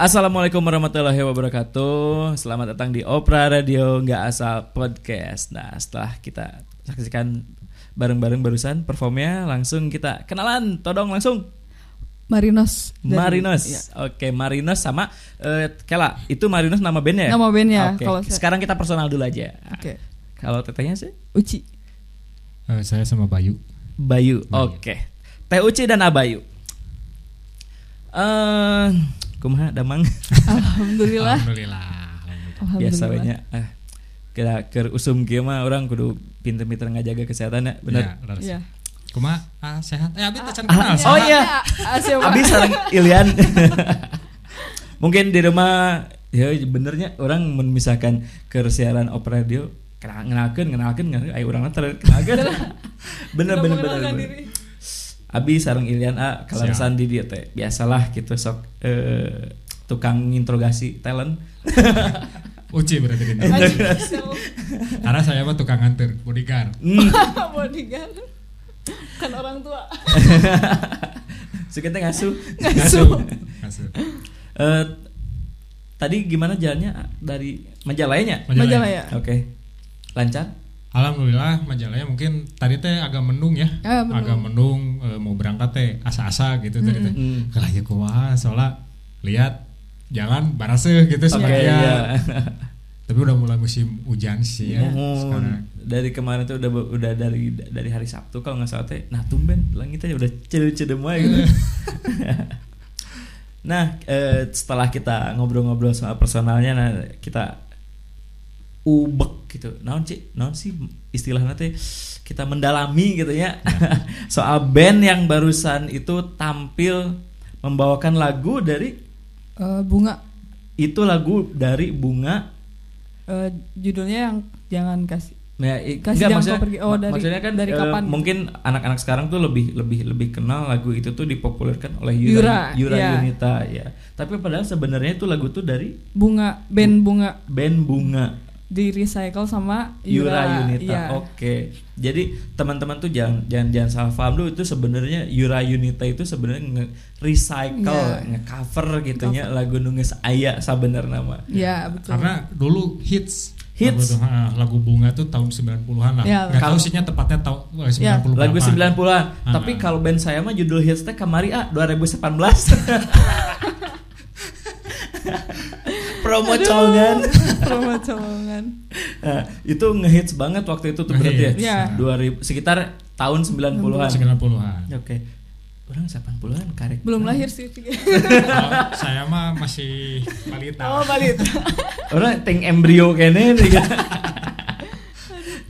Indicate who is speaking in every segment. Speaker 1: Assalamualaikum warahmatullahi wabarakatuh. Selamat datang di Opera Radio nggak asal podcast. Nah setelah kita saksikan bareng-bareng barusan performnya, langsung kita kenalan. Todong langsung.
Speaker 2: Marinos. dan-
Speaker 1: Marinos,
Speaker 2: Iya.
Speaker 1: oke Marinos sama eh, Kela itu Marinos nama bandnya. ya?
Speaker 2: Nama bandnya,
Speaker 1: Oke.
Speaker 2: kalau saya-
Speaker 1: Sekarang kita personal dulu aja.
Speaker 2: Oke.
Speaker 1: Kalau tetehnya sih
Speaker 2: Uci.
Speaker 3: Eh, saya sama Bayu.
Speaker 1: Bayu.
Speaker 2: Iya.
Speaker 1: Oke. TUC dan Abayu. Eh, kumaha damang
Speaker 2: Alhamdulillah.
Speaker 3: Alhamdulillah. Alhamdulillah.
Speaker 1: biasa we
Speaker 2: Alhamdulillah.
Speaker 1: nya. Ah, kira keur usum kieu mah orang kudu pinter-pinter ngajaga kesehatan ya, bener.
Speaker 3: Ya, leres.
Speaker 2: Iya.
Speaker 3: Kuma ah, sehat. Eh, abis tacan kenal.
Speaker 1: Oh
Speaker 3: sehat.
Speaker 1: iya.
Speaker 2: Ah, siapa?
Speaker 1: Abis sareng Ilian. Mungkin di rumah ya benernya orang memisahkan ke siaran opera radio kena- ngenalkeun ngenalkeun ngenalkeun ayo urang ter kenalkeun. bener bener bener. bener. Abi sareng Ilian A kalau
Speaker 3: Siap.
Speaker 1: Sandi dia teh biasalah gitu sok eh, tukang interogasi talent.
Speaker 3: Uci berarti gini. Karena saya mah tukang nganter, bodyguard.
Speaker 1: Hmm.
Speaker 2: Bodyguard. Kan orang tua.
Speaker 1: Suka teh ngasuh.
Speaker 3: Ngasuh. Ngasuh.
Speaker 1: Eh, tadi gimana jalannya A? dari majalahnya?
Speaker 2: Majalah ya.
Speaker 1: Oke. Lancar?
Speaker 3: Alhamdulillah majalahnya mungkin tadi teh agak mendung ya.
Speaker 2: Ah, mendung.
Speaker 3: Agak mendung eh, mau berangkat teh asa-asa gitu tadi teh.
Speaker 1: Mm-mm.
Speaker 3: Kalau aja kumaha soalnya lihat jangan baraseuh gitu sebenarnya.
Speaker 1: iya.
Speaker 3: Tapi udah mulai musim hujan sih ya
Speaker 1: Mohon.
Speaker 3: sekarang.
Speaker 1: Iya, Dari kemarin tuh udah udah dari dari hari Sabtu kalau nggak salah teh. Nah, tumben langitnya udah cedem-cedem aja gitu. nah, eh, setelah kita ngobrol-ngobrol soal personalnya nah kita ubek gitu. Naon sih? Naon sih istilahnya teh kita mendalami gitu ya. soal band yang barusan itu tampil membawakan lagu dari
Speaker 2: Eh, bunga.
Speaker 1: itu lagu dari bunga
Speaker 2: Eh, judulnya yang jangan kasih.
Speaker 1: Nah, i-
Speaker 2: Kasih
Speaker 1: enggak,
Speaker 2: jangkau
Speaker 1: maksudnya,
Speaker 2: pergi- oh,
Speaker 1: ma-
Speaker 2: dari-
Speaker 1: maksudnya kan
Speaker 2: dari
Speaker 1: eh,
Speaker 2: kapan?
Speaker 1: mungkin anak-anak sekarang tuh lebih lebih lebih kenal lagu itu tuh dipopulerkan oleh
Speaker 2: Yura,
Speaker 1: Yura Yura
Speaker 2: ya.
Speaker 1: Yunita ya. Tapi padahal sebenarnya itu lagu tuh dari
Speaker 2: Bunga band bunga
Speaker 1: band Bunga
Speaker 2: di recycle sama
Speaker 1: Yura Oh. Yunita.
Speaker 2: Iya.
Speaker 1: Oke. Jadi teman-teman tuh jangan jangan jangan salah paham dulu itu sebenarnya Yura Yunita itu sebenarnya nge-recycle,
Speaker 2: Iya.
Speaker 1: nge-cover gitunya lagu nunges aya sabenerna nama.
Speaker 2: Iya, betul.
Speaker 3: Karena dulu hits
Speaker 1: Hits.
Speaker 3: Lagu, tuh, ah, lagu bunga tuh tahun 90-an lah.
Speaker 2: Ya,
Speaker 3: nggak Gak tahu
Speaker 1: kalau-
Speaker 3: sihnya tepatnya tahun eh, 90
Speaker 2: Ya,
Speaker 1: Lagu
Speaker 3: berapaan.
Speaker 1: 90-an. Tapi
Speaker 3: Ah.
Speaker 1: kalau band saya mah judul hits teh Kamari A 2018. Promo colongan.
Speaker 2: Promo colongan.
Speaker 1: Nah, itu ngehits banget waktu itu tuh berarti ya.
Speaker 3: Ngehits.
Speaker 2: Ya.
Speaker 1: 2000 sekitar tahun 90-an.
Speaker 3: 90-an.
Speaker 2: Ya.
Speaker 1: Oke. Orang 80-an karek.
Speaker 2: Belum lahir sih.
Speaker 3: Kalau saya mah masih balita.
Speaker 1: Nah.
Speaker 2: Oh, balik.
Speaker 1: Orang ting embrio kene nih, kan.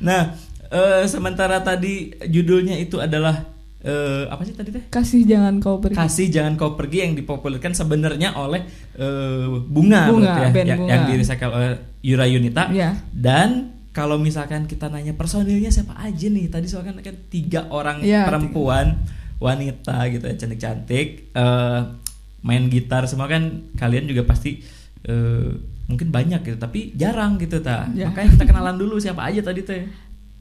Speaker 1: Nah, eh, sementara tadi judulnya itu adalah eh, apa sih tadi teh?
Speaker 2: Kasih jangan kau pergi.
Speaker 1: kasih jangan kau pergi yang dipopulerkan sebenarnya oleh eh, bunga,
Speaker 2: Bunga,
Speaker 1: berarti ya,
Speaker 2: band
Speaker 1: yang,
Speaker 2: Bunga.
Speaker 1: yang dirisakan oleh Yura Yunita
Speaker 2: Iya.
Speaker 1: dan kalau misalkan kita nanya personilnya siapa aja nih tadi soalnya kan tiga orang
Speaker 2: Iya,
Speaker 1: perempuan wanita gitu ya cantik-cantik eh, main gitar semua kan kalian juga pasti eh, mungkin banyak gitu tapi jarang gitu ta
Speaker 2: Iya.
Speaker 1: makanya kita kenalan dulu siapa aja tadi teh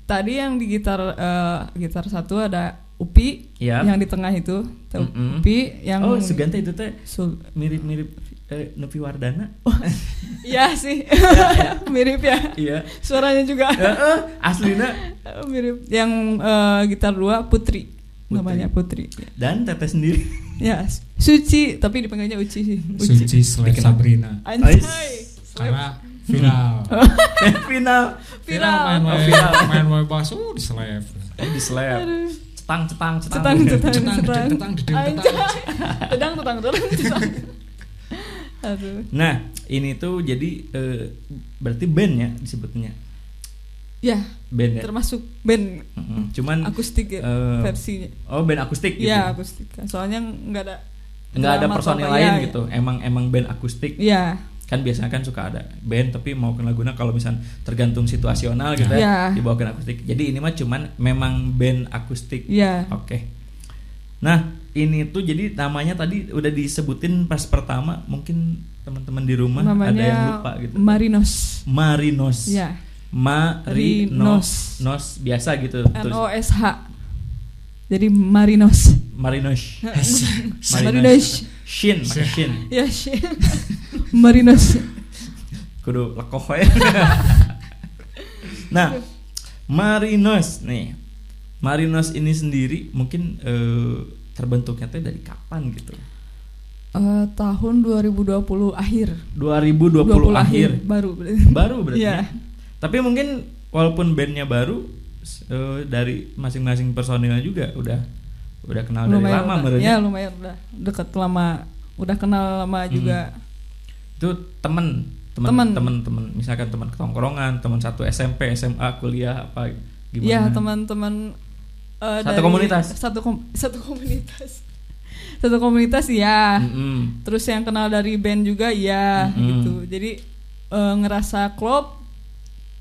Speaker 2: Tadi yang di gitar eh, gitar satu ada Upi
Speaker 1: Iya.
Speaker 2: yang di tengah itu, Tuh,
Speaker 1: Mm-mm.
Speaker 2: Upi yang
Speaker 1: oh Sugante itu teh
Speaker 2: Sul-
Speaker 1: mirip-mirip eh, Novi Wardana
Speaker 2: Iya sih. mirip ya.
Speaker 1: iya
Speaker 2: Suaranya juga
Speaker 1: Heeh, aslinya
Speaker 2: mirip. Yang eh, gitar dua Putri. Namanya Putri.
Speaker 1: dan teteh sendiri
Speaker 2: Ya, Suci, tapi dipanggilnya Uci sih. Uci.
Speaker 3: Suci slash
Speaker 1: Bikin-
Speaker 3: Sabrina.
Speaker 2: Anjay.
Speaker 1: Ais.
Speaker 3: Karena viral.
Speaker 1: final
Speaker 3: main
Speaker 1: Oh,
Speaker 2: Oh, Viral.
Speaker 3: main
Speaker 1: viral.
Speaker 3: main main bass uh, di slap.
Speaker 1: Eh, di slap cetang cetang
Speaker 2: Cetang, cetang,
Speaker 3: Cetang,
Speaker 2: cetang.
Speaker 3: cetang, cetang,
Speaker 2: Anjay. Tedang, tetang, tetang, tetang. Aduh.
Speaker 1: nah ini tuh jadi eh, berarti band ya disebutnya
Speaker 2: Ya,
Speaker 1: band ya
Speaker 2: termasuk band
Speaker 1: Mm-mm. cuman
Speaker 2: akustik ya,
Speaker 1: eh,
Speaker 2: versinya.
Speaker 1: oh band akustik gitu
Speaker 2: Iya, akustik. Soalnya nggak ada
Speaker 1: nggak ada
Speaker 2: drama
Speaker 1: personil
Speaker 2: atau apa,
Speaker 1: lain
Speaker 2: ya,
Speaker 1: gitu emang emang band akustik
Speaker 2: Iya.
Speaker 1: kan biasanya kan suka ada band tapi mau kena guna kalau misalnya tergantung situasional gitu ya
Speaker 2: Iya.
Speaker 1: dibawakan akustik jadi ini mah cuman memang band akustik
Speaker 2: Iya.
Speaker 1: Oke. Nah, ini tuh jadi namanya tadi udah disebutin pas pertama, mungkin teman-teman di rumah
Speaker 2: Namanya
Speaker 1: ada yang lupa gitu.
Speaker 2: Marinos.
Speaker 1: Marinos.
Speaker 2: Iya.
Speaker 1: Marinos. Nos biasa gitu.
Speaker 2: N
Speaker 1: Terus
Speaker 2: O S H. Jadi Marinos.
Speaker 1: Marinos.
Speaker 2: Marinos.
Speaker 1: Shin, pakai shin.
Speaker 2: Ya, shit. Marinos.
Speaker 1: kudu lekoh we. nah, Marinos nih. Marinos ini sendiri mungkin eh, terbentuknya teh dari kapan gitu?
Speaker 2: Eh, tahun 2020 akhir.
Speaker 1: 2020 akhir.
Speaker 2: baru.
Speaker 1: Baru berarti.
Speaker 2: Iya.
Speaker 1: ya? Tapi mungkin walaupun bandnya baru s- eh, dari masing-masing personilnya juga udah Nah, udah kenal dari lama
Speaker 2: udah,
Speaker 1: berarti.
Speaker 2: ya lumayan udah deket lama udah kenal lama
Speaker 1: Hmm.
Speaker 2: juga
Speaker 1: Itu temen temen
Speaker 2: Temen.
Speaker 1: temen temen misalkan teman ketongkrongan teman satu SMP SMA kuliah apa gimana
Speaker 2: ya teman-teman eh,
Speaker 1: Satu komunitas?
Speaker 2: satu kom- satu komunitas satu komunitas ya
Speaker 1: Mm-mm.
Speaker 2: terus yang kenal dari band juga ya
Speaker 1: Mm-mm.
Speaker 2: gitu jadi eh, ngerasa klop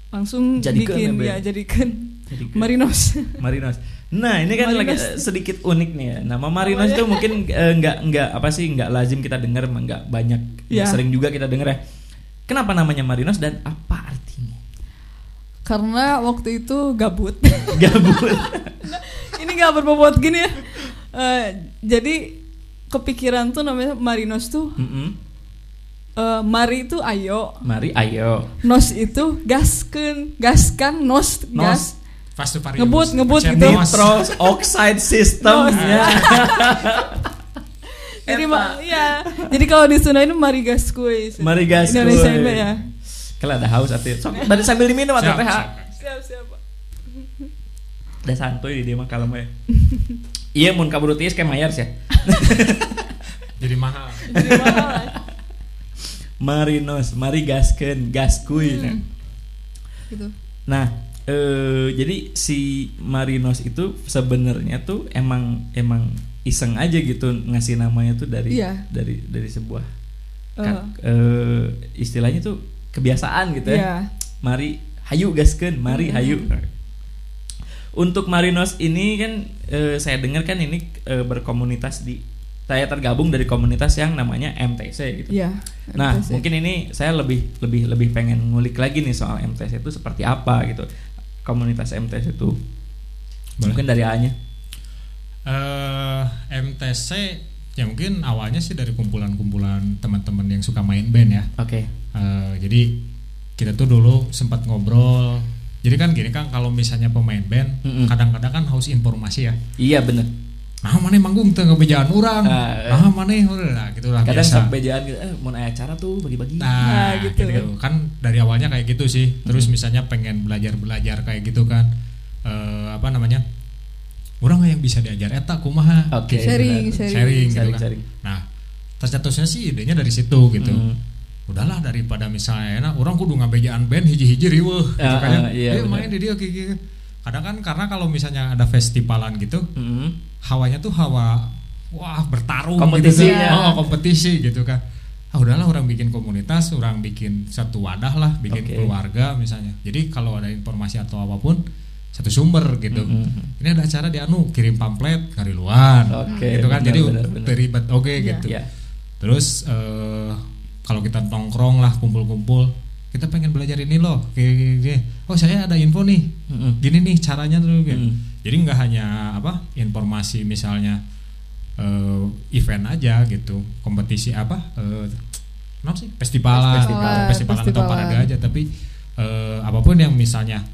Speaker 2: langsung
Speaker 1: Jadikan
Speaker 2: bikin
Speaker 1: ya,
Speaker 2: ya
Speaker 1: band.
Speaker 2: jadikan
Speaker 1: Jadikan.
Speaker 2: Marinos
Speaker 1: Marinos. Nah ini kan
Speaker 2: Marinos.
Speaker 1: lagi eh, sedikit unik nih ya. Nama Marinos itu mungkin eh, nggak nggak apa sih nggak lazim kita dengar, nggak banyak, nggak
Speaker 2: Iya.
Speaker 1: sering juga kita dengar ya. Kenapa namanya Marinos dan apa artinya?
Speaker 2: karena waktu itu gabut
Speaker 1: Gabut.
Speaker 2: ini nggak berbobot gini ya Eh, jadi kepikiran tuh namanya Marinos tuh
Speaker 1: Mm-mm.
Speaker 2: Eh, mari itu ayo
Speaker 1: Mari ayo.
Speaker 2: nos itu gaskeun gaskan nos,
Speaker 1: Nos.
Speaker 2: gas
Speaker 3: Fast to Furious.
Speaker 2: Ngebut, ngebut
Speaker 3: Channel
Speaker 2: gitu.
Speaker 3: Mas.
Speaker 1: Nitro oxide system.
Speaker 2: Nos.
Speaker 1: ya.
Speaker 2: jadi ma- iya jadi kalau di Sunda ini mari gas kuy
Speaker 1: Mari gas
Speaker 2: Indonesia
Speaker 1: kuy.
Speaker 2: ini ya Iya.
Speaker 1: Kalau ada haus atau sok tadi sambil diminum atau
Speaker 3: Siap,
Speaker 1: teh.
Speaker 3: siap.
Speaker 2: siap siap Pak.
Speaker 1: Udah santuy dia mah kalem we. Iya mun kabur tiis kayak mayar sih. ya.
Speaker 3: Jadi mahal.
Speaker 2: Jadi mahal, ya.
Speaker 1: Marinos, mari gaskeun, gaskuy.
Speaker 2: Hmm. gitu
Speaker 1: Nah, eh, jadi si Marinos itu sebenarnya tuh emang emang iseng aja gitu ngasih namanya tuh dari
Speaker 2: Iya.
Speaker 1: dari dari sebuah
Speaker 2: Eh.
Speaker 1: ka- eh, istilahnya tuh kebiasaan gitu ya.
Speaker 2: Iya.
Speaker 1: Mari hayu gaskeun, mari hayu. Untuk Marinos ini kan eh, saya dengar kan ini eh, berkomunitas di saya tergabung dari komunitas yang namanya MTC gitu.
Speaker 2: iya
Speaker 1: Nah,
Speaker 2: MTC.
Speaker 1: mungkin ini saya lebih lebih lebih pengen ngulik lagi nih soal MTS itu seperti apa gitu. Komunitas MTS itu.
Speaker 3: Boleh.
Speaker 1: Mungkin dari A-nya.
Speaker 3: eh MTC ya mungkin awalnya sih dari kumpulan-kumpulan teman-teman yang suka main band ya.
Speaker 1: Oke.
Speaker 3: Eh, jadi kita tuh dulu sempat ngobrol. Jadi kan gini kan kalau misalnya pemain band
Speaker 1: Mm-mm.
Speaker 3: kadang-kadang kan haus informasi ya.
Speaker 1: Iya bener
Speaker 3: Nah mana manggung teu ngebejaan orang.
Speaker 1: Ah, eh.
Speaker 3: Nah mana nah gitulah
Speaker 1: Kadang
Speaker 3: biasa.
Speaker 1: sampai jalan gitu, eh, mau naik acara tuh bagi-bagi.
Speaker 2: Nah,
Speaker 3: Nah,
Speaker 2: gitu. Hmm.
Speaker 3: gitu. kan dari awalnya kayak gitu sih. Terus misalnya pengen belajar-belajar kayak gitu kan. Eh, apa namanya? Orang yang bisa diajar eta kumaha. Gitu kan.
Speaker 1: Oke. benar.
Speaker 2: Sharing, sharing.
Speaker 3: sharing, gitu
Speaker 1: Sharing,
Speaker 3: kan.
Speaker 1: sharing.
Speaker 3: Nah, tercetusnya sih idenya dari situ gitu.
Speaker 1: Mm.
Speaker 3: Udahlah daripada misalnya enak orang kudu ngabejaan band hiji-hiji riweuh gitu
Speaker 1: Ah,
Speaker 3: kan.
Speaker 1: ah,
Speaker 3: Eh,
Speaker 1: iya,
Speaker 3: main
Speaker 1: benar.
Speaker 3: di dia kayak gitu. Kadang kan karena kalau misalnya ada festivalan gitu,
Speaker 1: Mm-mm.
Speaker 3: hawanya tuh hawa wah bertarung
Speaker 1: Kompetisi
Speaker 3: gitu kan.
Speaker 1: ya.
Speaker 3: Oh, kompetisi gitu kan. Ah udahlah orang bikin komunitas, orang bikin satu wadah lah, bikin
Speaker 1: Oke.
Speaker 3: keluarga misalnya. Jadi kalau ada informasi atau apapun satu sumber gitu.
Speaker 1: Mhm.
Speaker 3: Ini ada acara di anu kirim pamflet dari luar.
Speaker 1: Oke,
Speaker 3: gitu kan.
Speaker 1: benar,
Speaker 3: Jadi
Speaker 1: benar, benar.
Speaker 3: terlibat oke
Speaker 2: Iya.
Speaker 3: gitu.
Speaker 1: Iya.
Speaker 3: Terus eh, kalau kita nongkrong lah kumpul-kumpul, kita pengen belajar ini loh. Kayak gini. Oh, saya ada info nih
Speaker 1: Mm-mm.
Speaker 3: gini nih caranya tuh gitu.
Speaker 1: Hmm.
Speaker 3: jadi nggak hanya apa informasi misalnya eh, event aja gitu kompetisi apa eh, kenapa sih festivalan
Speaker 2: Festival.
Speaker 3: festivalan atau
Speaker 2: Festivalan.
Speaker 3: parade aja tapi eh, apapun yang misalnya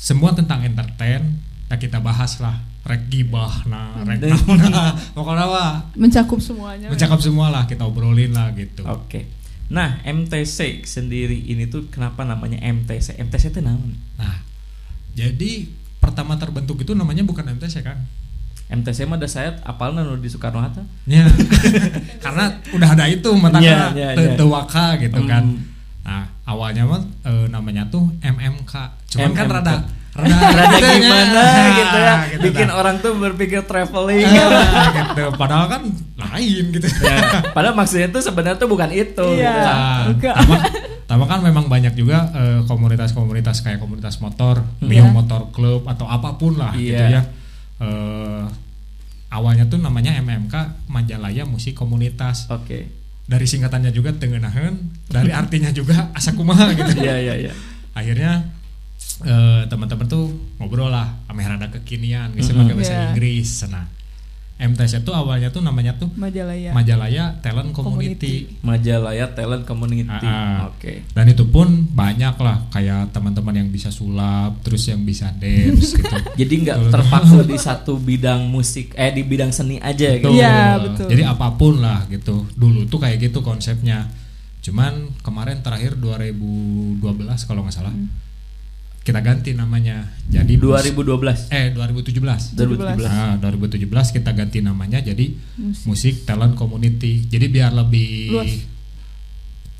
Speaker 3: semua tentang entertain nah kita bahas lah rek gibah nah rek naon, nah pokoknya mah
Speaker 2: mencakup semuanya
Speaker 3: mencakup semua lah kita obrolin lah gitu
Speaker 1: Oke. Nah, MTC sendiri ini tuh kenapa namanya MTC? MTC itu naon?
Speaker 3: nah jadi pertama terbentuk itu namanya bukan MTC kan
Speaker 1: MTC mah ada saya apalna nu di Soekarno Hatta.
Speaker 3: Ya. Karena udah ada itu matanya
Speaker 1: Ya, ya,
Speaker 3: te-
Speaker 1: ya.
Speaker 3: tewaka gitu kan.
Speaker 1: Hmm.
Speaker 3: Nah, awalnya mah eh, namanya tuh MMK. Cuman kan
Speaker 1: MMK.
Speaker 3: rada rada,
Speaker 1: Rada
Speaker 3: gitu ya.
Speaker 1: gimana
Speaker 3: Nah,
Speaker 1: gitu ya. Bikin
Speaker 3: nah.
Speaker 1: orang tuh berpikir traveling.
Speaker 3: Ah, gitu. Padahal kan lain gitu.
Speaker 1: Ya, Padahal maksudnya itu sebenarnya tuh bukan itu.
Speaker 2: Iya.
Speaker 1: gitu.
Speaker 3: Nah,
Speaker 2: Enggak.
Speaker 3: Tama, tama kan memang banyak juga eh, komunitas-komunitas kayak komunitas motor, Mio
Speaker 2: Iya.
Speaker 3: Motor Club atau apapun lah gitu
Speaker 1: Hmm.
Speaker 3: ya.
Speaker 1: Iya.
Speaker 3: Eh, awalnya tuh namanya MMK Majalaya Musik Komunitas.
Speaker 1: Oke.
Speaker 3: dari singkatannya juga tengenahan dari artinya juga asa kumaha gitu
Speaker 1: Iya iya iya.
Speaker 3: akhirnya eh, teman-teman tuh ngobrol lah ame rada kekinian bisa
Speaker 1: Mm-mm.
Speaker 3: pakai bahasa
Speaker 2: Iya.
Speaker 3: Inggris sana MTSF tuh awalnya tuh namanya tuh
Speaker 2: Majalaya.
Speaker 3: Majalaya Talent Community.
Speaker 1: Majalaya Talent Community.
Speaker 3: Ah, ah.
Speaker 1: Oke.
Speaker 3: Dan itu pun banyak lah kayak teman-teman yang bisa sulap, terus yang bisa dance gitu.
Speaker 1: Jadi
Speaker 3: Betul.
Speaker 1: nggak terpaku di satu bidang musik eh di bidang seni aja gitu.
Speaker 3: Betul.
Speaker 2: Iya, betul.
Speaker 3: Jadi apapun lah gitu. Dulu tuh kayak gitu konsepnya. Cuman kemarin terakhir 2012 kalau nggak salah.
Speaker 2: Hmm.
Speaker 3: Kita ganti namanya. Jadi
Speaker 1: 2012.
Speaker 3: eh 2017.
Speaker 1: 2017.
Speaker 3: Nah, 2017 kita ganti namanya jadi Musik, Talent Community. Jadi biar lebih
Speaker 2: Luas.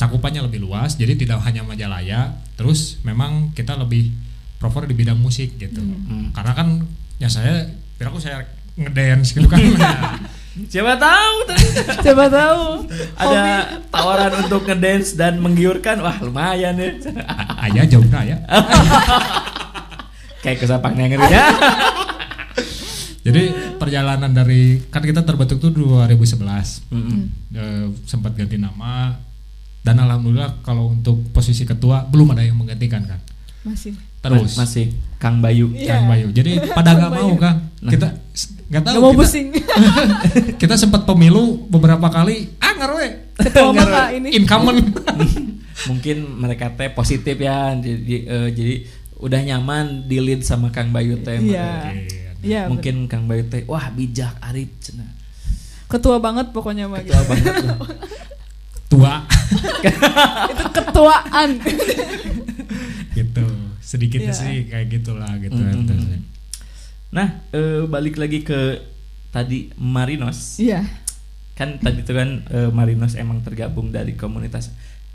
Speaker 3: cakupannya lebih luas. Jadi tidak hanya majalaya, terus memang kita lebih proper di bidang musik gitu.
Speaker 2: Hmm.
Speaker 3: Karena kan ya saya biar aku saya ngedance gitu kan.
Speaker 1: Siapa tahu ternyata
Speaker 2: Coba tahu.
Speaker 1: ada tawaran untuk ngedance dan menggiurkan. Wah, lumayan ya.
Speaker 3: Ayah jauh nah ya.
Speaker 1: Kayak kesapaknya ngeri ya.
Speaker 3: Jadi perjalanan dari kan kita terbentuk tuh 2011.
Speaker 1: Mm-mm.
Speaker 2: Hmm,
Speaker 3: Eh, sempat ganti nama dan alhamdulillah kalau untuk posisi ketua belum ada yang menggantikan kan.
Speaker 2: Masih.
Speaker 3: Terus
Speaker 1: Ma- masih Kang Bayu.
Speaker 3: Kang
Speaker 2: Iya.
Speaker 3: Bayu. Jadi pada nggak mau Kang. Kita s- nggak tahu.
Speaker 2: Gak mau
Speaker 3: kita,
Speaker 2: pusing.
Speaker 3: kita sempat pemilu beberapa kali. Ah ngarwe.
Speaker 2: Ketua mata ini.
Speaker 3: Incumbent.
Speaker 1: Mungkin mereka teh positif ya. Jadi eh, jadi udah nyaman di lead sama Kang Bayu teh.
Speaker 2: Iya. Iya. betul.
Speaker 1: Mungkin Kang Bayu teh wah bijak arif cenah.
Speaker 2: Ketua banget pokoknya mah
Speaker 1: Ketua
Speaker 2: gitu.
Speaker 1: banget lah.
Speaker 3: Tua.
Speaker 2: Itu ketuaan.
Speaker 3: gitu. Sedikitnya
Speaker 2: Iya.
Speaker 3: sih kayak gitulah gitu.
Speaker 1: Mm-mm.
Speaker 3: Terus-
Speaker 1: Nah, eh, balik lagi ke tadi Marinos.
Speaker 2: Iya.
Speaker 1: Kan tadi itu kan eh, Marinos emang tergabung dari komunitas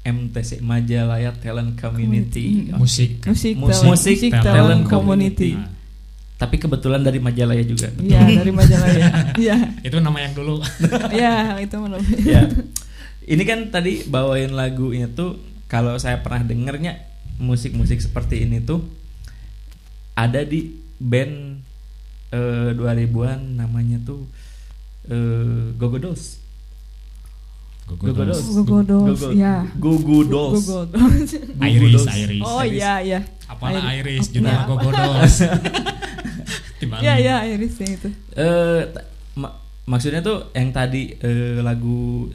Speaker 1: MTC Majalaya Talent Community. Oke.
Speaker 3: Musik. kan.
Speaker 2: Musik,
Speaker 1: Musik,
Speaker 2: talent,
Speaker 1: musik,
Speaker 2: musik
Speaker 3: talent
Speaker 2: talent
Speaker 1: community. Nah.
Speaker 2: community.
Speaker 3: Nah,
Speaker 1: Tapi kebetulan dari Majalaya juga.
Speaker 2: Iya, dari Majalaya. Iya.
Speaker 3: itu nama yang dulu.
Speaker 2: Iya, itu menurut.
Speaker 1: ya. Ini kan tadi bawain lagunya tuh kalau saya pernah dengernya musik-musik seperti ini tuh ada di band eh, 2000-an namanya tuh eh, Gogodos. Gogodos.
Speaker 2: Gogodos,
Speaker 1: Gogo-
Speaker 2: ya.
Speaker 1: Gogodos.
Speaker 2: Gogodos.
Speaker 3: Iris,
Speaker 1: Gogodos.
Speaker 3: Iris.
Speaker 2: Oh iya, iya.
Speaker 3: Apalah Iris,
Speaker 2: Iris.
Speaker 3: judulnya
Speaker 2: Apa?
Speaker 3: Gogodos. Timbang.
Speaker 2: Iya, iya, Iris yang itu.
Speaker 1: Eh, ta- ma- maksudnya tuh yang tadi eh, lagu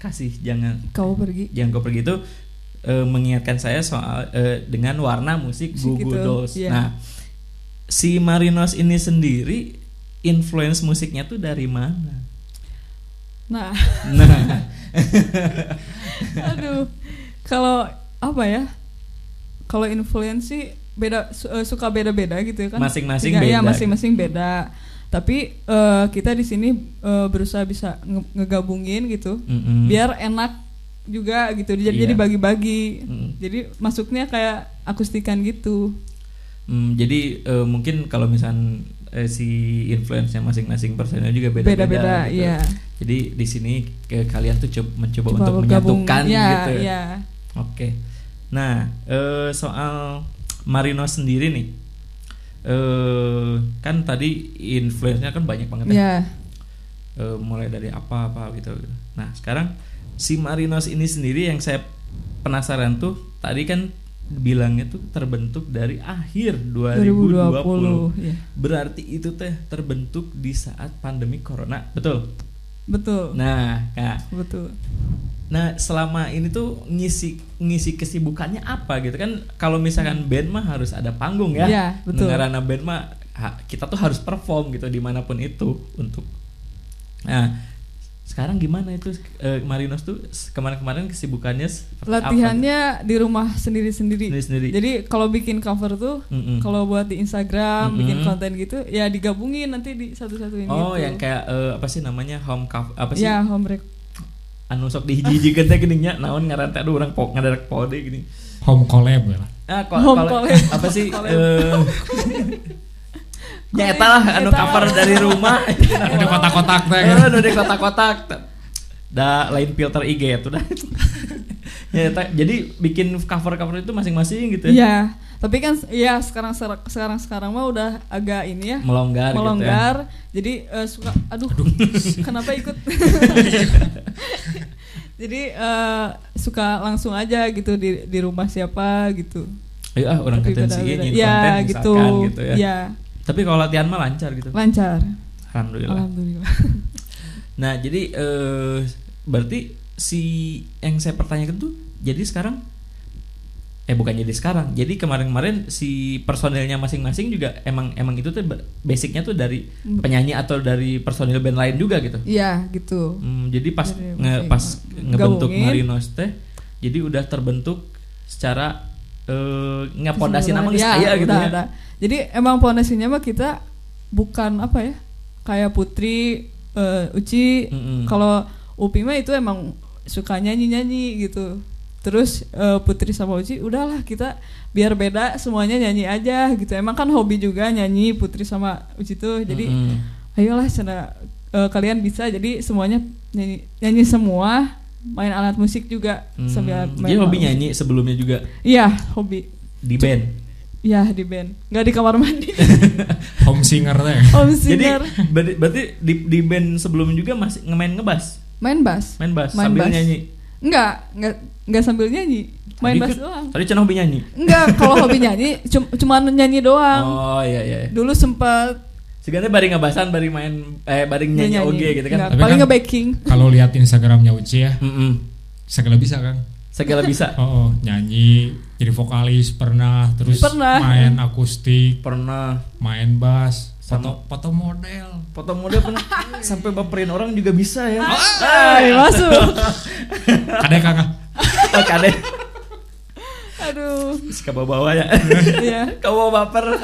Speaker 1: kasih jangan
Speaker 2: Kau pergi.
Speaker 1: jangan kau pergi itu eh, mengingatkan saya soal eh, dengan warna musik
Speaker 2: Musik itu,
Speaker 1: Gogodos.
Speaker 2: iya.
Speaker 1: Nah, si Marinos ini sendiri influence musiknya tuh dari mana?
Speaker 2: Nah,
Speaker 1: Nah,
Speaker 2: aduh. Kalau apa ya? Kalau influence sih beda su- eh, suka beda-beda gitu ya kan.
Speaker 1: Masing-masing
Speaker 2: Tiga- Iya,
Speaker 1: beda.
Speaker 2: masing-masing beda. Tapi eh, kita di sini eh, berusaha bisa nge- ngegabungin gitu.
Speaker 1: mm-mm.
Speaker 2: Biar enak juga gitu. Jadi jadi
Speaker 1: Hmm. Iya.
Speaker 2: bagi-bagi.
Speaker 1: Mm.
Speaker 2: Jadi masuknya kayak akustikan gitu.
Speaker 1: Hmm, jadi eh, mungkin kalau misalnya si influence-nya masing-masing personel juga beda-beda.
Speaker 2: Beda-beda,
Speaker 1: gitu.
Speaker 2: iya.
Speaker 1: Jadi di sini ke kalian tuh coba mencoba
Speaker 2: Coba
Speaker 1: untuk
Speaker 2: gabung.
Speaker 1: menyatukan
Speaker 2: Iya,
Speaker 1: gitu.
Speaker 2: iya.
Speaker 1: Oke. Nah, eh, soal Marino sendiri nih. Eh kan tadi influence-nya kan banyak banget ya.
Speaker 2: Iya.
Speaker 1: Eh, mulai dari apa-apa gitu. Nah, sekarang si Marinos ini sendiri yang saya penasaran tuh tadi kan bilangnya tuh terbentuk dari akhir 2020.
Speaker 2: 2020, ya.
Speaker 1: Berarti itu teh terbentuk di saat pandemi corona, betul?
Speaker 2: Betul.
Speaker 1: Nah, nah,
Speaker 2: Betul.
Speaker 1: Nah, selama ini tuh ngisi ngisi kesibukannya apa gitu kan? Kalau misalkan band mah harus ada panggung ya.
Speaker 2: Hmm. Iya, betul.
Speaker 1: Dengarana band mah ha- kita tuh harus perform gitu dimanapun itu untuk. Nah, sekarang gimana itu eh, Marinos tuh s- kemarin-kemarin kesibukannya seperti apa?
Speaker 2: Latihannya di rumah sendiri-sendiri.
Speaker 1: Sendiri-sendiri.
Speaker 2: Jadi kalau bikin cover tuh,
Speaker 1: Mm-mm.
Speaker 2: kalau buat di Instagram,
Speaker 1: Mm-mm.
Speaker 2: bikin konten gitu, ya digabungin nanti di satu-satuin
Speaker 1: Oh,
Speaker 2: gitu.
Speaker 1: yang kayak eh, apa sih namanya home cover apa sih?
Speaker 2: Ya, home rec.
Speaker 1: Anu sok dihiji-hiji teh geuning nya naon ngaran teh aduh urang po ngadarek pode gini.
Speaker 3: Home collab ya. lah.
Speaker 1: Ah, kol-
Speaker 2: Home
Speaker 1: kole-
Speaker 2: collab.
Speaker 1: apa sih?
Speaker 2: Collab.
Speaker 1: eh, Ya eta lah anu
Speaker 2: Eta lah.
Speaker 1: cover dari rumah.
Speaker 2: Iya.
Speaker 3: Udah kotak-kotak teh. kan?
Speaker 1: Eh, anu di kotak-kotak. Da lain filter IG itu dah. ya, eta- jadi bikin cover-cover itu masing-masing gitu ya.
Speaker 2: Iya. Tapi kan ya sekarang sekarang sekarang mah udah agak ini ya.
Speaker 1: Melonggar, gitu
Speaker 2: melonggar. Jadi eh, suka aduh, kenapa ikut? Jadi eh, suka langsung aja gitu di di rumah siapa gitu.
Speaker 1: gitu ya. Ayo ah orang
Speaker 2: Tapi
Speaker 1: konten sih
Speaker 2: beda-beda.
Speaker 1: nyin
Speaker 2: ya,
Speaker 1: konten
Speaker 2: gitu.
Speaker 1: misalkan gitu ya.
Speaker 2: Ya,
Speaker 1: Tapi kalau latihan mah lancar gitu.
Speaker 2: lancar.
Speaker 1: Alhamdulillah.
Speaker 2: Alhamdulillah.
Speaker 1: Nah, jadi eh, berarti si yang saya pertanyakan tuh jadi sekarang eh bukan jadi sekarang. Jadi kemarin-kemarin si personilnya masing-masing juga emang emang itu tuh ba- basicnya tuh dari penyanyi atau dari personil band lain juga gitu.
Speaker 2: Hmm. Iya gitu.
Speaker 1: Hmm, jadi pas
Speaker 2: Dari ya?
Speaker 1: nge-
Speaker 2: masing-
Speaker 1: pas ngebentuk
Speaker 2: gabungin.
Speaker 1: Marinos teh jadi udah terbentuk secara eh ngepondasi nama geus
Speaker 2: Iya,
Speaker 1: aya gitu
Speaker 2: udah
Speaker 1: ya.
Speaker 2: ada. Jadi emang pondasinya mah kita bukan apa ya? Kayak Putri, eh, Uci,
Speaker 1: Mm-mm.
Speaker 2: kalau Upi mah itu emang suka nyanyi-nyanyi gitu. Terus eh, Putri sama Uci udahlah kita biar beda semuanya nyanyi aja gitu. Emang kan hobi juga nyanyi Putri sama Uci tuh. Jadi
Speaker 1: Mm-mm.
Speaker 2: ayolah sana eh, kalian bisa jadi semuanya nyanyi, nyanyi semua, main alat musik juga
Speaker 1: Hmm,
Speaker 2: sambil main
Speaker 1: dia hobi
Speaker 2: alat musik.
Speaker 1: nyanyi sebelumnya juga
Speaker 2: Iya, hobi.
Speaker 1: di band.
Speaker 2: Ya di band, nggak di kamar mandi.
Speaker 3: home singer teh
Speaker 2: Om
Speaker 1: Jadi
Speaker 2: singer
Speaker 1: berarti, berarti di, di band sebelum juga masih ngemain ngebass,
Speaker 2: main bass.
Speaker 1: main bass
Speaker 2: Main
Speaker 1: sambil
Speaker 2: bass.
Speaker 1: nyanyi.
Speaker 2: Nggak, nggak nggak sambil nyanyi, main
Speaker 1: Tadi
Speaker 2: bass
Speaker 1: kan-
Speaker 2: doang.
Speaker 1: Tadi Cenah hobi nyanyi.
Speaker 2: Nggak, kalau hobi nyanyi cum- cuman nyanyi doang.
Speaker 1: Oh iya iya.
Speaker 2: Dulu sempat
Speaker 1: Sebenarnya bari ngebassan, bari main eh bari nyanyi, oge gitu kan.
Speaker 3: Tapi kan-
Speaker 2: paling nge-backing.
Speaker 3: kalau lihat instagramnya Uci ya
Speaker 1: Mm-mm.
Speaker 3: segala bisa kan
Speaker 1: Segala bisa.
Speaker 3: oh, oh, nyanyi jadi vokalis pernah terus
Speaker 2: Pernah.
Speaker 3: main akustik
Speaker 1: Pernah
Speaker 3: main bass
Speaker 1: Sama-
Speaker 3: foto foto model
Speaker 1: foto model pernah sampai baperin orang juga bisa ya.
Speaker 2: Ay, masuk.
Speaker 3: kadek kakak
Speaker 1: Oh, kade.
Speaker 2: Aduh,
Speaker 1: Suka bawa ya.
Speaker 2: ya.
Speaker 1: Kamu baper.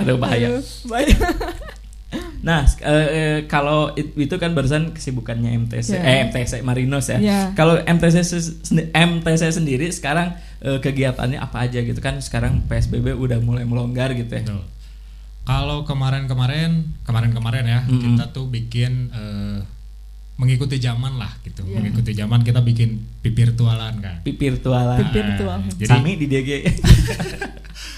Speaker 1: Aduh bahaya.
Speaker 2: Aduh, bahaya.
Speaker 1: Nah, s- eh, eh, kalau it- itu kan barusan kesibukannya MTC,
Speaker 2: Ya.
Speaker 1: eh MTC Marinos ya.
Speaker 2: Ya.
Speaker 1: Kalau MTC se- sendi- MTC sendiri sekarang eh, kegiatannya apa aja gitu kan? Sekarang PSBB udah mulai melonggar gitu ya.
Speaker 3: Betul. Kalau kemarin-kemarin, kemarin-kemarin ya,
Speaker 1: Mm-mm.
Speaker 3: kita tuh bikin eh, mengikuti zaman lah gitu. Mengikuti zaman kita bikin virtualan kan.
Speaker 1: Pi- Virtualan.
Speaker 2: Pi- virtual.
Speaker 3: Eh, Jadi
Speaker 1: Sami di DG.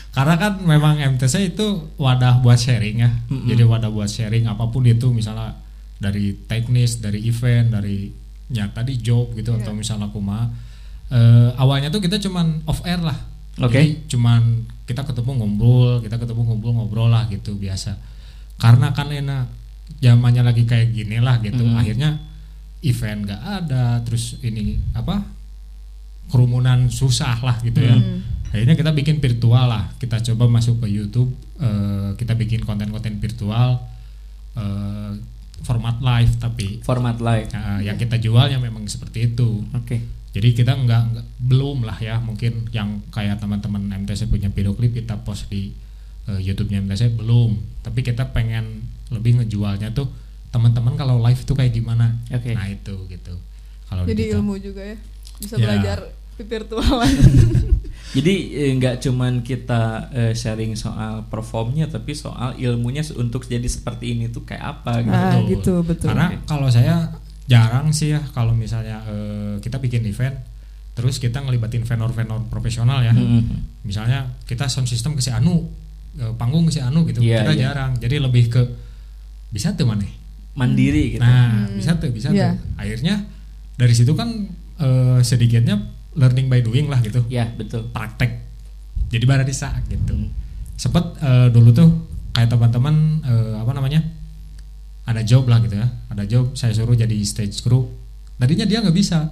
Speaker 3: karena kan memang MTC itu wadah buat sharing ya.
Speaker 1: Mm-mm.
Speaker 3: Jadi wadah buat sharing apapun itu misalnya dari teknis, dari event, dari ya tadi job gitu atau misalnya kuma Eh, awalnya tuh kita cuman off air lah.
Speaker 1: Oke.
Speaker 3: Jadi cuman kita ketemu ngobrol, kita ketemu ngobrol ngobrol lah gitu biasa. Karena kan enak zamannya lagi kayak gini lah gitu.
Speaker 1: Mm.
Speaker 3: Akhirnya event gak ada, terus ini apa kerumunan susah lah gitu ya. Akhirnya kita bikin virtual lah. Kita coba masuk ke YouTube, eh, kita bikin konten-konten virtual eh, format live tapi
Speaker 1: Format live.
Speaker 3: eh, yang kita jualnya memang seperti itu.
Speaker 1: Oke.
Speaker 3: Jadi kita nggak nggak- belum lah ya mungkin yang kayak teman-teman MTC punya video klip kita post di eh, YouTube-nya MTC belum. Tapi kita pengen lebih ngejualnya tuh teman-teman kalau live tuh kayak gimana.
Speaker 1: Oke.
Speaker 3: Nah itu gitu. Kalau
Speaker 2: Jadi
Speaker 3: di kita-
Speaker 2: ilmu juga ya. Bisa
Speaker 3: Ya.
Speaker 2: belajar virtualan.
Speaker 1: Jadi eh, nggak cuman kita eh, sharing soal performnya tapi soal ilmunya se- untuk jadi seperti ini tuh kayak apa gitu.
Speaker 2: Ah, gitu, betul.
Speaker 3: Karena kalau saya jarang sih ya kalau misalnya eh, kita bikin event terus kita ngelibatin vendor-vendor profesional ya.
Speaker 1: Mm-mm.
Speaker 3: Misalnya kita sound system ke si Anu, eh, panggung ke si Anu gitu.
Speaker 1: Iya,
Speaker 3: kita
Speaker 1: iya.
Speaker 3: jarang. Jadi lebih ke bisa tuh mana?
Speaker 1: Mandiri gitu.
Speaker 3: Nah, bisa tuh, bisa
Speaker 2: Iya.
Speaker 3: tuh. Akhirnya dari situ kan eh, sedikitnya learning by doing lah gitu.
Speaker 1: Ya, betul.
Speaker 3: Praktek. Jadi barista gitu.
Speaker 1: Hmm.
Speaker 3: Sempet eh, dulu tuh kayak teman-teman eh, apa namanya? Ada job lah gitu ya. Ada job saya suruh jadi stage crew. Tadinya dia nggak bisa.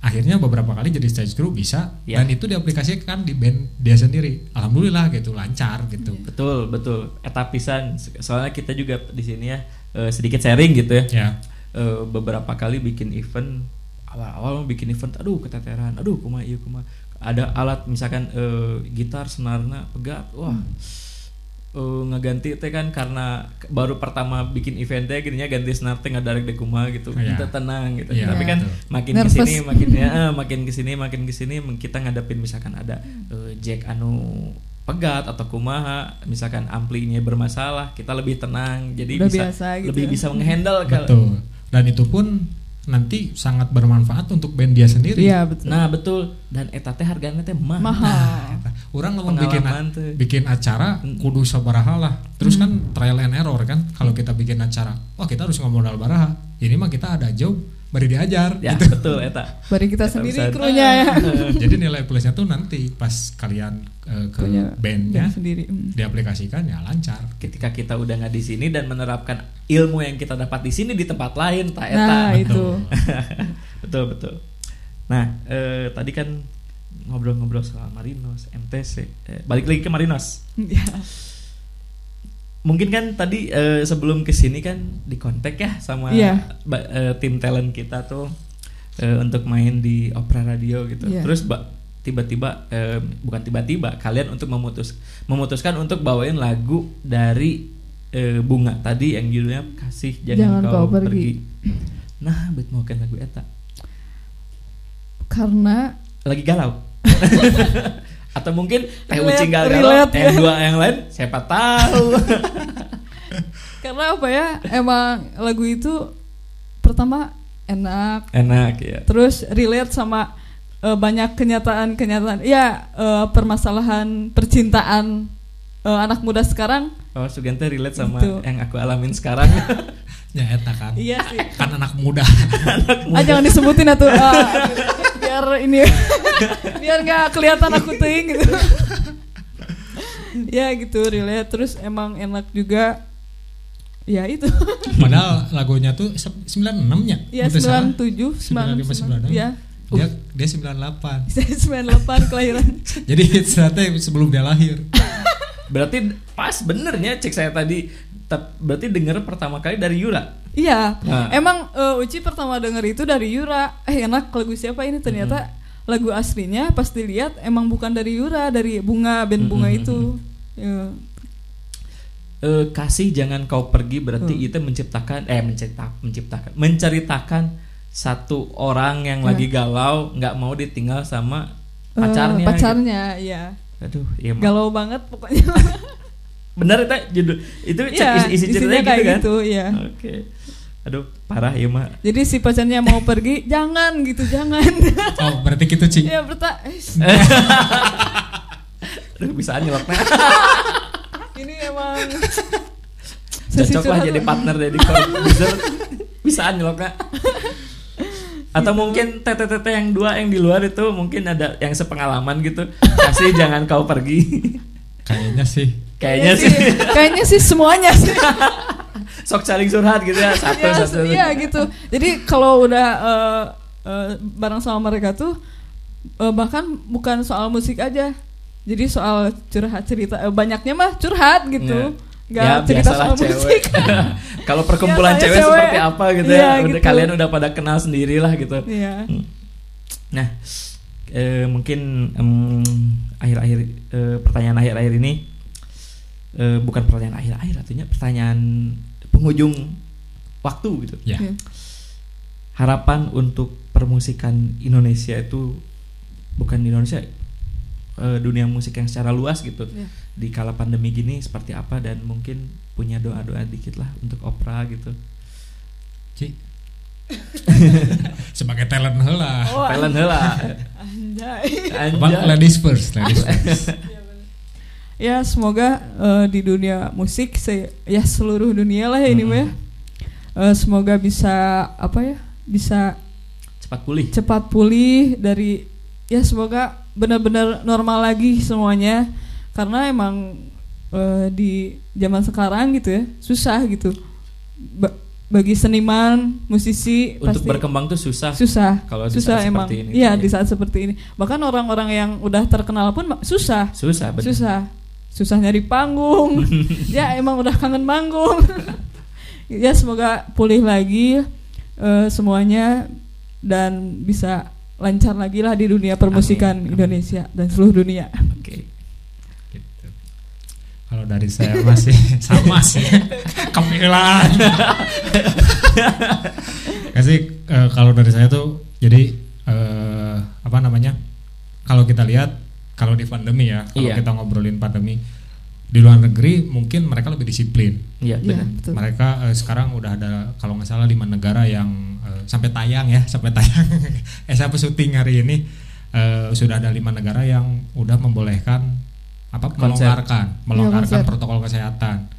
Speaker 3: Akhirnya beberapa kali jadi stage crew bisa
Speaker 1: Iya.
Speaker 3: dan itu diaplikasikan di band dia sendiri. Alhamdulillah gitu, lancar gitu.
Speaker 1: Betul, betul. Eta pisan. Soalnya kita juga di sini ya eh, sedikit sharing gitu ya.
Speaker 3: Ya.
Speaker 1: Eh, beberapa kali bikin event awal-awal bikin event aduh keteteran aduh kuma iya kuma ada alat misalkan eh, gitar senarna pegat wah eh, ngeganti teh kan karena ke- baru pertama bikin event teh gininya ganti senar teh ngadarek deh kuma gitu
Speaker 3: Iya.
Speaker 1: kita tenang gitu
Speaker 3: Iya,
Speaker 1: tapi kan
Speaker 3: betul.
Speaker 1: makin
Speaker 2: Nervous.
Speaker 1: kesini makin ya eh, makin kesini makin kesini meng- kita ngadepin misalkan ada eh, jack anu pegat atau kumaha misalkan amplinya bermasalah kita lebih tenang jadi
Speaker 2: Udah
Speaker 1: bisa
Speaker 2: biasa gitu
Speaker 1: lebih
Speaker 2: ya.
Speaker 1: bisa menghandle kalau-
Speaker 3: Betul. Dan itu pun nanti sangat bermanfaat untuk band dia sendiri.
Speaker 2: Iya, betul.
Speaker 1: Nah betul dan eta teh harganya teh mahal.
Speaker 2: Mahal.
Speaker 3: Eta, orang lamun bikin
Speaker 1: Pengalaman tuh.
Speaker 3: bikin acara kudu sabaraha lah. Terus kan trial and error kan kalau kita bikin acara. Wah, kita harus ngomodal baraha. Ini mah kita ada job bari diajar
Speaker 1: ya
Speaker 3: gitu.
Speaker 1: betul eta
Speaker 2: Bari kita
Speaker 1: Kita
Speaker 2: sendiri
Speaker 1: bisa- Eh,
Speaker 2: krunya ya.
Speaker 3: Jadi nilai plusnya tuh nanti pas kalian eh, ke
Speaker 2: Punya
Speaker 3: bandnya
Speaker 2: band sendiri. mm.
Speaker 3: diaplikasikan ya lancar.
Speaker 1: ketika kita udah nggak di sini dan menerapkan ilmu yang kita dapat di sini di tempat lain tak eta
Speaker 2: Nah,
Speaker 1: Betul.
Speaker 2: itu.
Speaker 1: betul betul nah eh, tadi kan ngobrol-ngobrol soal Marinos MTC Eh, balik lagi ke Marinos
Speaker 2: Ya.
Speaker 1: mungkin kan tadi eh, sebelum kesini kan di kontak ya sama
Speaker 2: Iya.
Speaker 1: ba- eh, tim talent kita tuh eh, untuk main di opera radio gitu
Speaker 2: Iya.
Speaker 1: terus ba- tiba-tiba eh, bukan tiba-tiba kalian untuk memutus memutuskan untuk bawain lagu dari eh, bunga tadi yang judulnya kasih jangan, kau, pergi. nah bet mau lagu eta
Speaker 2: Karena
Speaker 1: lagi galau atau mungkin teh
Speaker 2: Relate,
Speaker 1: ucing galau galau
Speaker 2: relate
Speaker 1: teh
Speaker 2: ya.
Speaker 1: dua yang lain siapa tahu
Speaker 2: karena apa ya? Emang lagu itu pertama enak,
Speaker 1: enak ya
Speaker 2: terus relate sama eh, banyak kenyataan-kenyataan. Ya, eh, permasalahan percintaan eh, anak muda sekarang.
Speaker 1: Oh, Sugante relate sama
Speaker 2: Gitu.
Speaker 1: yang aku alamin sekarang.
Speaker 3: Ya eta kan.
Speaker 2: Iya sih.
Speaker 3: Kan anak muda.
Speaker 2: Ah jangan disebutin atuh. Ah, biar ini biar nggak kelihatan aku ting gitu. ya gitu relate terus emang enak juga. Ya itu.
Speaker 3: Padahal lagunya tuh se- 96 ya.
Speaker 2: ya
Speaker 3: Betul salah? 95,
Speaker 2: 97 99. Ya.
Speaker 3: Dia, dia 98.
Speaker 2: Saya 98 Ya, kelahiran.
Speaker 3: Jadi hits teh sebelum dia lahir.
Speaker 1: berarti pas benernya cek saya tadi. Tep- Berarti denger pertama kali dari Yura.
Speaker 2: Iya.
Speaker 1: Nah.
Speaker 2: Emang eh, Uci pertama denger itu dari Yura. Eh enak lagu siapa ini ternyata lagu aslinya pas dilihat emang bukan dari Yura, dari Bunga band Bunga itu. Ya.
Speaker 1: Eh, kasih jangan kau pergi berarti
Speaker 2: Hmm.
Speaker 1: itu menciptakan eh mencipta, menciptakan menceritakan satu orang yang lagi galau nggak mau ditinggal sama
Speaker 2: Hmm. Eh,
Speaker 1: pacarnya.
Speaker 2: pacarnya, iya.
Speaker 1: gitu. Aduh, iya. Ma.
Speaker 2: galau banget pokoknya
Speaker 1: Bener itu judul itu cek
Speaker 2: Iya,
Speaker 1: isi, isi ceritanya
Speaker 2: isinya
Speaker 1: gitu
Speaker 2: kayak
Speaker 1: kan.
Speaker 2: gitu, iya.
Speaker 1: Oke. Aduh, parah ya, Mak.
Speaker 2: jadi si pacarnya mau pergi jangan gitu jangan
Speaker 3: Oh, berarti gitu cing.
Speaker 2: ya berta eh,
Speaker 1: Aduh, bisa nyeloknya.
Speaker 2: ini emang sesi
Speaker 1: cocok lah
Speaker 2: curhat.
Speaker 1: jadi partner dari produser bisa nyelok Kak. atau mungkin TTTT yang dua yang di luar itu mungkin ada yang sepengalaman gitu kasih jangan kau pergi
Speaker 3: Kayaknya sih.
Speaker 1: kayaknya sih
Speaker 2: Iya kayaknya sih semuanya sih
Speaker 1: sok saling curhat gitu ya satu
Speaker 2: Iya,
Speaker 1: satu
Speaker 2: iya gitu jadi kalau udah eh, eh, bareng sama mereka tuh eh, bahkan bukan soal musik aja jadi soal curhat cerita eh, banyaknya mah curhat gitu nggak
Speaker 1: Ya,
Speaker 2: cerita
Speaker 1: biasalah
Speaker 2: soal
Speaker 1: cewek.
Speaker 2: musik
Speaker 1: Kalau perkumpulan
Speaker 2: Biasanya
Speaker 1: cewek,
Speaker 2: cewek.
Speaker 1: seperti apa gitu
Speaker 2: Iya,
Speaker 1: ya. Udah,
Speaker 2: gitu.
Speaker 1: Kalian udah pada kenal sendiri lah gitu.
Speaker 2: Iya.
Speaker 1: Hmm. Nah, eh, mungkin em, akhir-akhir eh, pertanyaan akhir-akhir ini eh, bukan pertanyaan akhir-akhir, artinya pertanyaan penghujung waktu gitu.
Speaker 3: Ya.
Speaker 2: Iya.
Speaker 1: Harapan untuk permusikan Indonesia itu bukan di Indonesia eh, dunia musik yang secara luas gitu
Speaker 2: Iya.
Speaker 1: di kala pandemi gini seperti apa dan mungkin punya doa-doa dikit lah untuk opera gitu.
Speaker 3: Ci. Sebagai talent
Speaker 1: Ah,
Speaker 3: heula.
Speaker 2: Oh,
Speaker 1: Talent heula.
Speaker 2: anjay.
Speaker 3: Apa
Speaker 1: Anjay.
Speaker 3: ladies first, ladies first.
Speaker 2: Ya semoga eh, di dunia musik se- ya seluruh dunia lah ya ini
Speaker 1: Hmm.
Speaker 2: mah. ya. Eh, semoga bisa apa ya bisa
Speaker 1: Cepat pulih.
Speaker 2: cepat pulih dari ya semoga benar-benar normal lagi semuanya karena emang eh, di zaman sekarang gitu ya susah gitu Ba- bagi seniman musisi
Speaker 1: Untuk
Speaker 2: pasti
Speaker 1: berkembang tuh susah.
Speaker 2: susah
Speaker 1: kalau di
Speaker 2: susah
Speaker 1: saat
Speaker 2: emang
Speaker 1: seperti ini. ya.
Speaker 2: iya di saat seperti ini bahkan orang-orang yang udah terkenal pun ma- susah
Speaker 1: Susah betul.
Speaker 2: susah susah nyari panggung ya emang udah kangen panggung ya semoga pulih lagi eh, semuanya dan bisa lancar lagi lah di dunia permusikan
Speaker 1: Amin, amin.
Speaker 2: Indonesia dan seluruh dunia
Speaker 1: Oke.
Speaker 3: Gitu. Kalau dari saya masih sama sih. Kepilaan. Kasih eh, kalau dari saya tuh jadi eh, apa namanya? Kalau kita lihat kalau di pandemi ya, kalau
Speaker 1: Iya.
Speaker 3: kita ngobrolin pandemi di luar negeri mungkin mereka lebih disiplin.
Speaker 1: Iya
Speaker 2: ya
Speaker 1: benar.
Speaker 2: betul
Speaker 3: Mereka eh, sekarang udah ada kalau nggak salah lima negara yang eh, sampai tayang ya, sampai tayang. eh sampai syuting hari ini eh, sudah ada lima negara yang udah membolehkan apa
Speaker 1: Konser.
Speaker 3: melonggarkan melonggarkan
Speaker 2: konser.
Speaker 3: protokol kesehatan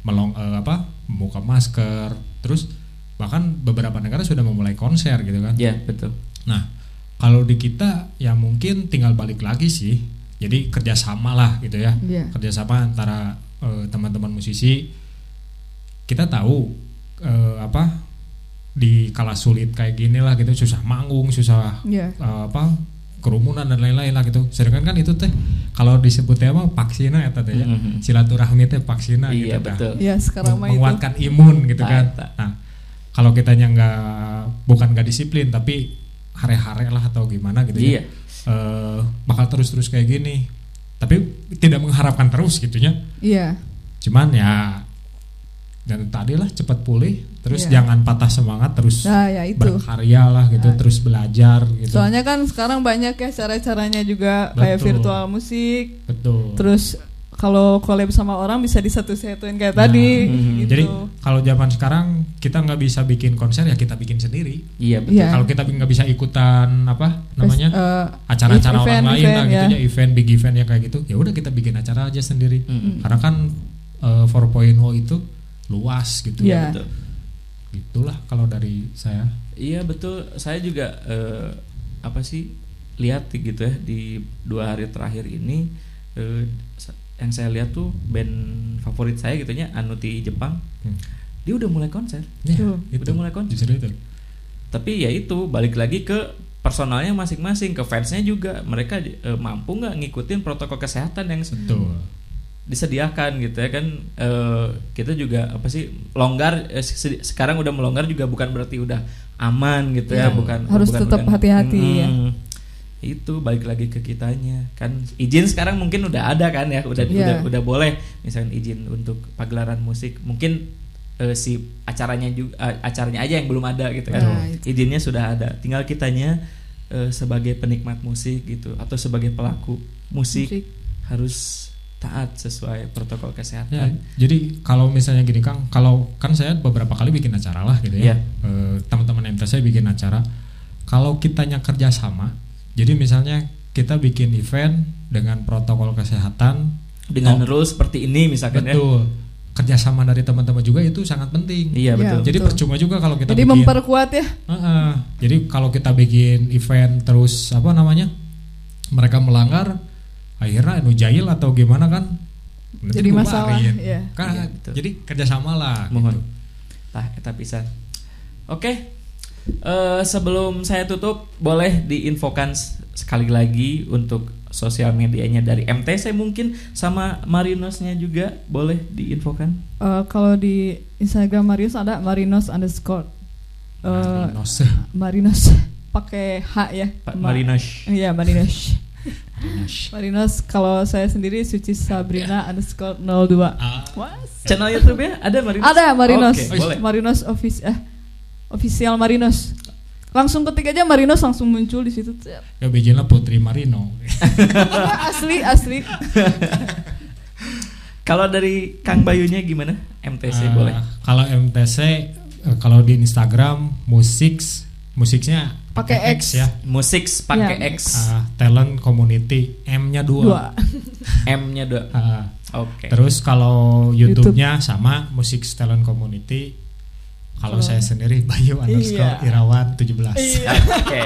Speaker 3: melong eh, apa membuka masker terus bahkan beberapa negara sudah memulai konser gitu kan
Speaker 1: ya betul
Speaker 3: Nah, kalau di kita ya mungkin tinggal balik lagi sih. Jadi kerjasama lah gitu ya.
Speaker 2: Iya.
Speaker 3: Kerjasama antara eh, teman-teman musisi. Kita tahu eh, apa di kala sulit kayak gini lah gitu susah manggung, susah
Speaker 2: Iya.
Speaker 3: eh, apa kerumunan dan lain-lain lah gitu. Sedangkan kan itu teh kalau disebutnya mah paksina eta teh ya.
Speaker 1: Mhm.
Speaker 3: Silaturahmi teh paksina
Speaker 1: iya
Speaker 3: gitu tah
Speaker 1: betul
Speaker 2: ya sekarang mah itu
Speaker 3: menguatkan imun gitu
Speaker 1: Nah,
Speaker 3: kan.
Speaker 1: eta.
Speaker 3: Nah, kalau kitanya nggak bukan nggak disiplin tapi hare-hare lah atau gimana gitu ya.
Speaker 1: Iya.
Speaker 3: Eh, bakal terus-terus kayak gini. Tapi tidak mengharapkan terus gitunya.
Speaker 2: iya
Speaker 3: Cuman ya dan tadi lah cepat pulih, terus
Speaker 2: Iya.
Speaker 3: jangan patah semangat, terus
Speaker 2: Nah, ya itu.
Speaker 3: berkarya lah gitu,
Speaker 2: Nah.
Speaker 3: terus belajar gitu.
Speaker 2: soalnya kan sekarang banyak ya cara-caranya juga kayak
Speaker 3: Betul.
Speaker 2: virtual musik
Speaker 3: betul.
Speaker 2: terus kalau collab sama orang bisa disatu-satuin kayak
Speaker 3: Nah,
Speaker 2: tadi
Speaker 1: mhm.
Speaker 2: gitu
Speaker 3: Jadi kalau zaman sekarang kita nggak bisa bikin konser ya kita bikin sendiri.
Speaker 1: iya betul
Speaker 2: Iya.
Speaker 3: Kalau kita nggak bisa ikutan apa namanya?
Speaker 2: Terus, eh,
Speaker 3: acara-acara
Speaker 2: event-
Speaker 3: orang lain lah
Speaker 2: event,
Speaker 3: gitu
Speaker 2: ya.
Speaker 3: ya event big event ya kayak gitu ya udah kita bikin acara aja sendiri
Speaker 1: Mm-mm.
Speaker 3: karena kan eh, 4.0 itu luas gitu ya
Speaker 2: Iya.
Speaker 1: betul
Speaker 3: gitulah kalau dari saya
Speaker 1: Iya betul, saya juga eh, apa sih lihat gitu ya di dua hari terakhir ini eh, sa- yang saya lihat tuh band favorit saya gitunya Anuti Jepang,
Speaker 3: Hmm.
Speaker 1: dia udah mulai konser,
Speaker 3: ya,
Speaker 2: Tuh.
Speaker 3: itu
Speaker 1: udah mulai konser.
Speaker 3: justru itu
Speaker 1: Tapi ya itu balik lagi ke personalnya masing-masing, ke fansnya juga mereka eh, mampu nggak ngikutin protokol kesehatan yang se-
Speaker 3: betul
Speaker 1: disediakan gitu ya kan eh, kita juga apa sih longgar eh, se- se- sekarang udah melonggar juga bukan berarti udah aman gitu ya,
Speaker 2: Iya,
Speaker 1: bukan
Speaker 2: harus
Speaker 1: bukan-
Speaker 2: tetap
Speaker 1: bukan-
Speaker 2: hati-hati ya.
Speaker 1: itu balik lagi ke kitanya kan izin sekarang mungkin udah ada kan ya udah
Speaker 2: Iya.
Speaker 1: udah udah boleh misalkan izin untuk pagelaran musik mungkin eh, si acaranya juga eh, acaranya aja yang belum ada gitu kan
Speaker 2: Nah, itu.
Speaker 1: izinnya sudah ada tinggal kitanya eh, sebagai penikmat musik gitu atau sebagai pelaku musik
Speaker 2: Musik.
Speaker 1: harus taat sesuai protokol
Speaker 3: ya
Speaker 1: kesehatan.
Speaker 3: jadi kalau misalnya gini kang kalau kan saya beberapa kali bikin acara lah gitu
Speaker 1: Iya.
Speaker 3: ya Eh, teman-teman MT saya bikin acara kalau kitanya kerjasama jadi misalnya kita bikin event dengan protokol kesehatan Oh.
Speaker 1: Dengan rules seperti ini misalkan ya.
Speaker 3: Betul. Kerjasama dari teman-teman juga itu sangat penting.
Speaker 1: Iya
Speaker 2: Iya.
Speaker 1: betul.
Speaker 3: Jadi
Speaker 2: betul.
Speaker 3: percuma juga kalau kita
Speaker 2: jadi
Speaker 3: bikin.
Speaker 2: memperkuat ya
Speaker 3: Heeh. jadi kalau kita bikin event terus apa namanya mereka melanggar akhirnya anu jahil atau gimana kan nanti
Speaker 2: Jadi masalah,
Speaker 3: dibubarin.
Speaker 2: iya.
Speaker 3: Kan,
Speaker 1: Iya, betul.
Speaker 3: jadi kerjasama lah.
Speaker 1: Nah, mohon
Speaker 3: gitu.
Speaker 1: tah eta pisan oke eh, sebelum saya tutup boleh diinfokan s- sekali lagi untuk sosial medianya dari MTC mungkin sama Marinosnya juga boleh diinfokan
Speaker 2: Eh, kalau di Instagram Marius ada Marinos underscore Eh,
Speaker 3: Marinos.
Speaker 2: Marinos pakai H ya
Speaker 1: Pak
Speaker 2: Ma-
Speaker 1: Marinos
Speaker 2: Iya Marinos Marinos kalau saya sendiri Suci Sabrina underscore 02
Speaker 3: Ah,
Speaker 2: Was.
Speaker 1: channel YouTube nya ada Marinos
Speaker 2: Ada Marinos
Speaker 1: Oke,
Speaker 3: Oh,
Speaker 1: boleh
Speaker 2: Marinos ofis eh, official Marinos langsung ketik aja Marinos langsung muncul di situ
Speaker 3: ya bikinlah Putri Marino.
Speaker 2: asli asli
Speaker 1: kalau dari Kang Bayunya gimana MTC
Speaker 3: Eh,
Speaker 1: Iya boleh
Speaker 3: Kalau MTC eh, kalau di Instagram musik musiknya
Speaker 2: Pakai
Speaker 3: pakai
Speaker 2: X.
Speaker 3: X ya.
Speaker 1: musik pakai
Speaker 2: Ya.
Speaker 1: X
Speaker 3: Ah, talent community M-nya dua.
Speaker 2: dua
Speaker 1: M nya dua
Speaker 3: Ah,
Speaker 1: oke
Speaker 3: Terus kalau YouTube-nya sama musik talent community. Kalau
Speaker 2: Oh.
Speaker 3: saya sendiri Bayu underscore
Speaker 2: Iya.
Speaker 3: Irawan 17.
Speaker 1: Oke.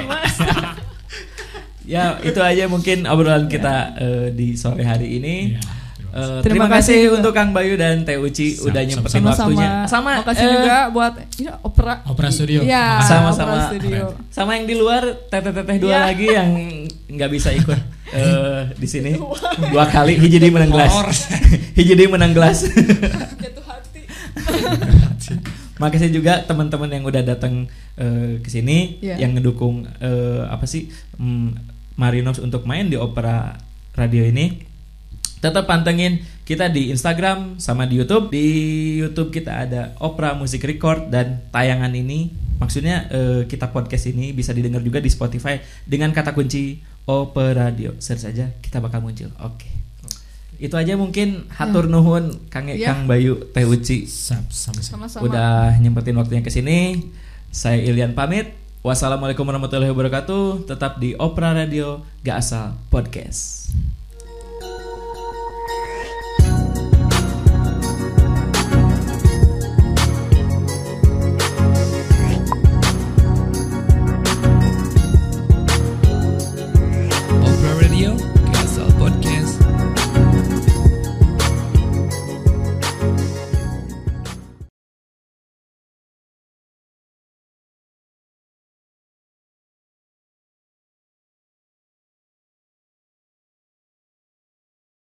Speaker 1: ya itu aja mungkin obrolan kita eh, di sore hari ini.
Speaker 3: Iya, terima kasih.
Speaker 1: Eh,
Speaker 2: Terima
Speaker 1: terima,
Speaker 2: kasih
Speaker 1: kasih
Speaker 2: juga.
Speaker 1: untuk Kang Bayu dan Teh Uci
Speaker 3: Sam-
Speaker 1: udah
Speaker 3: sam-
Speaker 1: nyempetin
Speaker 2: sama sama
Speaker 1: waktunya. Sama
Speaker 2: makasih
Speaker 1: eh,
Speaker 2: juga buat ya, opera
Speaker 3: Eh, Opera Studio.
Speaker 2: Iya,
Speaker 3: Makasih.
Speaker 1: Sama-sama.
Speaker 2: Opera Studio.
Speaker 1: sama yang di luar teteh-teteh dua
Speaker 2: Iya.
Speaker 1: lagi yang nggak bisa ikut eh, di sini dua kali hiji di menang gelas.
Speaker 3: Molor.
Speaker 1: hiji di menang gelas.
Speaker 2: jatuh hati
Speaker 1: Makasih juga teman-teman yang udah datang eh, ke sini
Speaker 2: Iya.
Speaker 1: yang ngedukung eh, apa sih mm, Marinos untuk main di opera radio ini. Tetap pantengin kita di Instagram sama di YouTube. Di YouTube kita ada Opera Music Record dan tayangan ini maksudnya eh, kita podcast ini bisa didengar juga di Spotify dengan kata kunci Opera Radio. Search aja kita bakal muncul. Oke. Itu aja mungkin hatur nuhun Kang
Speaker 2: Hmm. Iya.
Speaker 1: Kang Bayu Teh Uci
Speaker 3: Sam- sama-sama.
Speaker 2: sama sama
Speaker 1: udah nyempetin waktunya ke sini. Saya Ilian pamit. Wassalamualaikum warahmatullahi wabarakatuh. Tetap di Opera Radio Gak Asal Podcast.